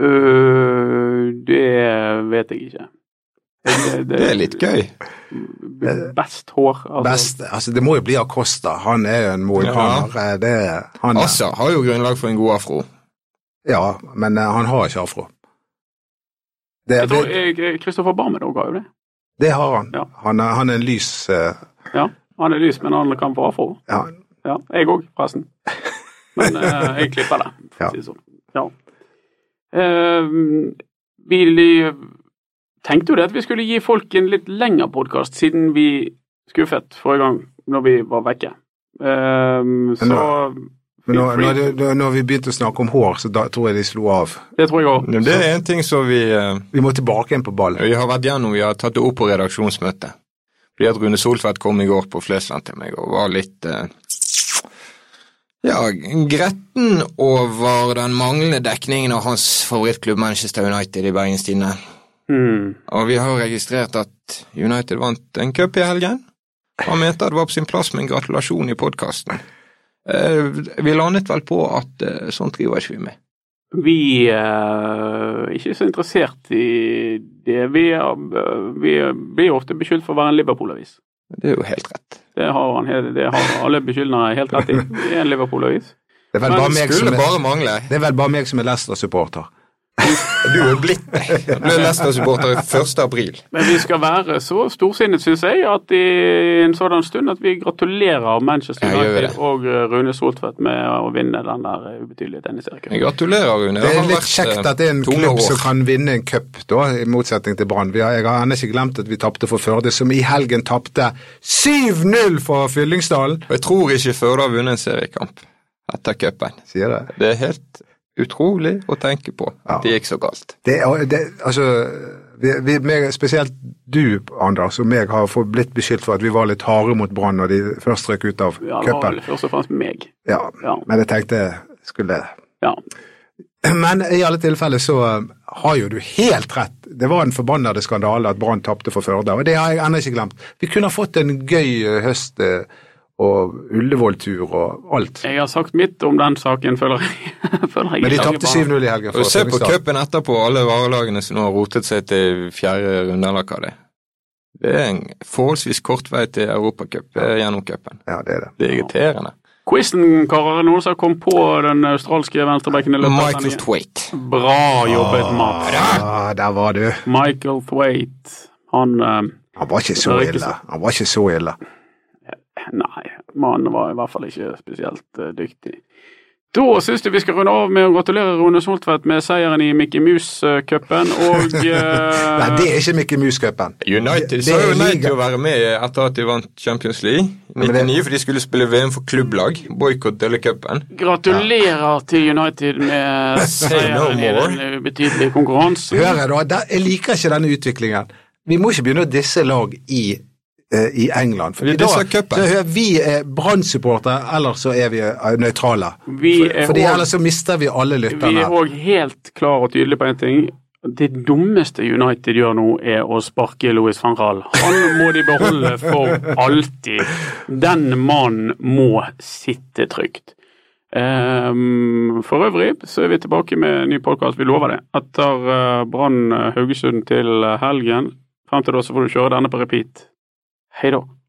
[SPEAKER 3] Uh, det vet jeg ikke. Det,
[SPEAKER 5] Det er litt gøy.
[SPEAKER 3] Best hår. Altså.
[SPEAKER 4] Best, altså Det må jo bli Acosta. Han er jo en mohikaner. eh, Det er han. er-
[SPEAKER 5] Assa har jo grunnlag for en god afro.
[SPEAKER 4] Ja, men eh, han har ikke afro. Det,
[SPEAKER 3] Jeg tror
[SPEAKER 4] det,
[SPEAKER 3] jeg- Kristoffer Barmen òg har jo det.
[SPEAKER 4] det har han.
[SPEAKER 3] Ja.
[SPEAKER 4] Han, er, han er en lys eh,
[SPEAKER 3] Ja, Han er lys, men han kan få afro.
[SPEAKER 4] ja.
[SPEAKER 3] Ja, jeg òg, forresten. Men eh, jeg klipper det, for
[SPEAKER 4] Ja.
[SPEAKER 3] å si det sånn. Ja. Eh, vi tenkte jo det at vi skulle gi folk en litt lengre podkast, siden vi skuffet forrige gang når vi var vekke. Eh, så
[SPEAKER 4] Men nå,
[SPEAKER 3] Feel free.
[SPEAKER 4] når, det- når- når vi begynte å snakke om hår, så da tror jeg de slo av.
[SPEAKER 3] det tror jeg òg.
[SPEAKER 5] Men Det er en ting som vi, eh,
[SPEAKER 4] Vi må tilbake igjen på ball.
[SPEAKER 5] vi har vært gjennom. Vi har tatt det opp på redaksjonsmøtet. Fordi at Rune Soltvedt kom i går på Flesland til meg og var litt eh, ja, gretten over den manglende dekningen av hans favorittklubb Manchester United i Bergens Tidende.
[SPEAKER 3] Mm.
[SPEAKER 5] Og vi har registrert at United vant en cup i helgen. Han mente at det var på sin plass med en gratulasjon i podkasten. Vi landet vel på at eh, sånt driver ikke vi med.
[SPEAKER 3] Vi eh, er ikke så interessert i det. Vi, er, eh, vi blir ofte beskyldt for å være en Liverpool-avis.
[SPEAKER 5] Det er jo helt rett.
[SPEAKER 3] Det har, han, he- det har alle beskyldnere helt rett i. Vi er en Liverpool-avis.
[SPEAKER 4] Det er vel
[SPEAKER 3] Men
[SPEAKER 4] bare meg som
[SPEAKER 5] Skulle
[SPEAKER 4] er,
[SPEAKER 5] bare mangle.
[SPEAKER 4] det er, vel bare meg som er Leicester-supporter.
[SPEAKER 5] Du er blitt det. Jeg Ble Leicester-supporter 1. april.
[SPEAKER 3] Men vi skal være så storsinnet, syns jeg, at i en sådan stund at vi gratulerer Manchester
[SPEAKER 5] Ja, gjør vi
[SPEAKER 3] United
[SPEAKER 5] det.
[SPEAKER 3] og eh, Rune Soltvedt med å vinne den der eh, ubetydelige tennisserien.
[SPEAKER 5] Jeg gratulerer, Rune.
[SPEAKER 4] Det
[SPEAKER 5] har
[SPEAKER 4] er litt
[SPEAKER 5] vært, eh,
[SPEAKER 4] kjekt at det er en
[SPEAKER 5] tunge
[SPEAKER 4] klubb
[SPEAKER 5] år.
[SPEAKER 4] som kan vinne en cup, da, i motsetning til Brann. Vi har- Jeg har ennå ikke glemt at vi tapte for Førde, som i helgen tapte 7-0 for Fyllingsdalen.
[SPEAKER 5] Og jeg tror ikke Førde har vunnet en seriekamp etter cupen.
[SPEAKER 4] Sier det.
[SPEAKER 5] Det er helt utrolig å tenke på at det gikk så galt.
[SPEAKER 4] det, er- det altså, vi, vi, meg, spesielt du, Anders, og meg har fått blitt beskyldt for at vi var litt harde mot Brann når de først røk ut av
[SPEAKER 3] Ja, det var
[SPEAKER 4] cupen.
[SPEAKER 3] vel først og fremst meg.
[SPEAKER 4] Ja,
[SPEAKER 3] Ja.
[SPEAKER 4] men jeg tenkte skulle
[SPEAKER 3] ja.
[SPEAKER 4] Men i alle tilfeller så eh, har jo du helt rett. Det var en forbannede skandale at Brann tapte for Førde, og det har jeg ennå ikke glemt. Vi kunne ha fått en gøy eh, høst eh, og Ullevål-tur og alt.
[SPEAKER 3] Jeg har sagt mitt om den saken, føler jeg. <laughs> føler jeg
[SPEAKER 4] Men de
[SPEAKER 3] ikke
[SPEAKER 4] tapte
[SPEAKER 3] lager
[SPEAKER 4] 7-0 i helgen.
[SPEAKER 5] Og
[SPEAKER 4] for
[SPEAKER 5] Se på
[SPEAKER 4] Fredrikstad.
[SPEAKER 5] cupen etterpå, alle varelagene som nå har rotet seg til fjerde runde, eller hva det er. Det er en forholdsvis kort vei til Europacup eh, gjennom cupen.
[SPEAKER 4] Ja, det er det.
[SPEAKER 5] Det er irriterende.
[SPEAKER 3] bare- Quizen, karer, er det noen som kom på den australske venstrebekken i løpet av
[SPEAKER 5] Michael
[SPEAKER 3] sendingen?
[SPEAKER 5] Thwaite.
[SPEAKER 3] Bra jobbet, Mats.
[SPEAKER 4] Ah, der var du.
[SPEAKER 3] Michael Thwaite. Han eh,
[SPEAKER 4] Han var ikke
[SPEAKER 3] Det
[SPEAKER 4] så
[SPEAKER 3] var ikke
[SPEAKER 4] ille.
[SPEAKER 3] så-
[SPEAKER 4] Han var ikke så ille.
[SPEAKER 3] Nei, mannen var i hvert fall ikke spesielt eh, dyktig. Da syns jeg vi skal runde av med å gratulere Rune Soltvedt med seieren i Mickey Mouse-cupen, og eh,
[SPEAKER 4] Nei, det er ikke Mickey Mouse-cupen.
[SPEAKER 5] United
[SPEAKER 4] Det-
[SPEAKER 5] sa
[SPEAKER 4] det er
[SPEAKER 5] jo nei
[SPEAKER 4] liga.
[SPEAKER 5] til å være med etter at de vant Champions League i
[SPEAKER 4] men det-
[SPEAKER 5] 99, for de skulle spille VM for klubblag. Boikott hele cupen.
[SPEAKER 3] Gratulerer til United med
[SPEAKER 5] Say no
[SPEAKER 3] seieren i den ubetydelige konkurransen.
[SPEAKER 4] Hører du, der, jeg liker ikke denne utviklingen. Vi må ikke begynne å disse lag i, eh, i England. For
[SPEAKER 5] Vi
[SPEAKER 4] i dag-
[SPEAKER 5] disser cupen.
[SPEAKER 4] så hører Vi er Brann-supportere, eller så er vi eh, nøytrale.
[SPEAKER 3] Vi er
[SPEAKER 4] Fordi
[SPEAKER 3] også-
[SPEAKER 4] ellers så mister vi alle
[SPEAKER 3] Vi er
[SPEAKER 4] lytterne.
[SPEAKER 3] òg helt klar og tydelig på én ting. Det dummeste United gjør nå, er å sparke Louis van Raal. Han må de beholde for alltid. Den mannen må sitte trygt. Ehm, for øvrig så er vi tilbake med en ny podkast, vi lover det. Etter eh, Brann eh, Haugesund til eh, helgen. Frem til da så får du kjøre denne på repeat. Hei da.